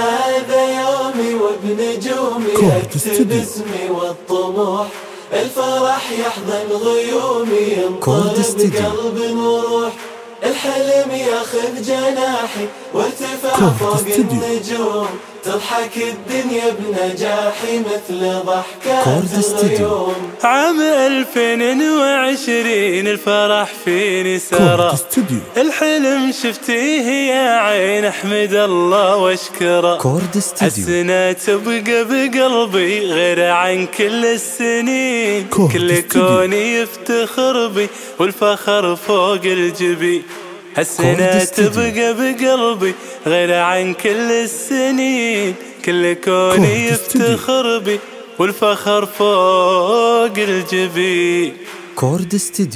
هذا يومي وبنجومي اكتب اسمي والطموح الفرح يحضن غيومي كورد ينطلب استديو. قلب وروح الحلم ياخذ جناحي وارتفع كورد فوق استديو. النجوم تضحك الدنيا بنجاحي مثل كورد ضحكات استديو. الغيوم عام 2020 الفرح فيني كورت سرى استوديو الحلم شفتيه يا عين احمد الله واشكره كورد استوديو السنة تبقى بقلبي غير عن كل السنين كورت كل استوديو. كوني يفتخر بي والفخر فوق الجبين كورت هالسنة استوديو. تبقى بقلبي غير عن كل السنين كل كوني كورت استوديو. يفتخر بي والفخر فوق الجبين كورد استوديو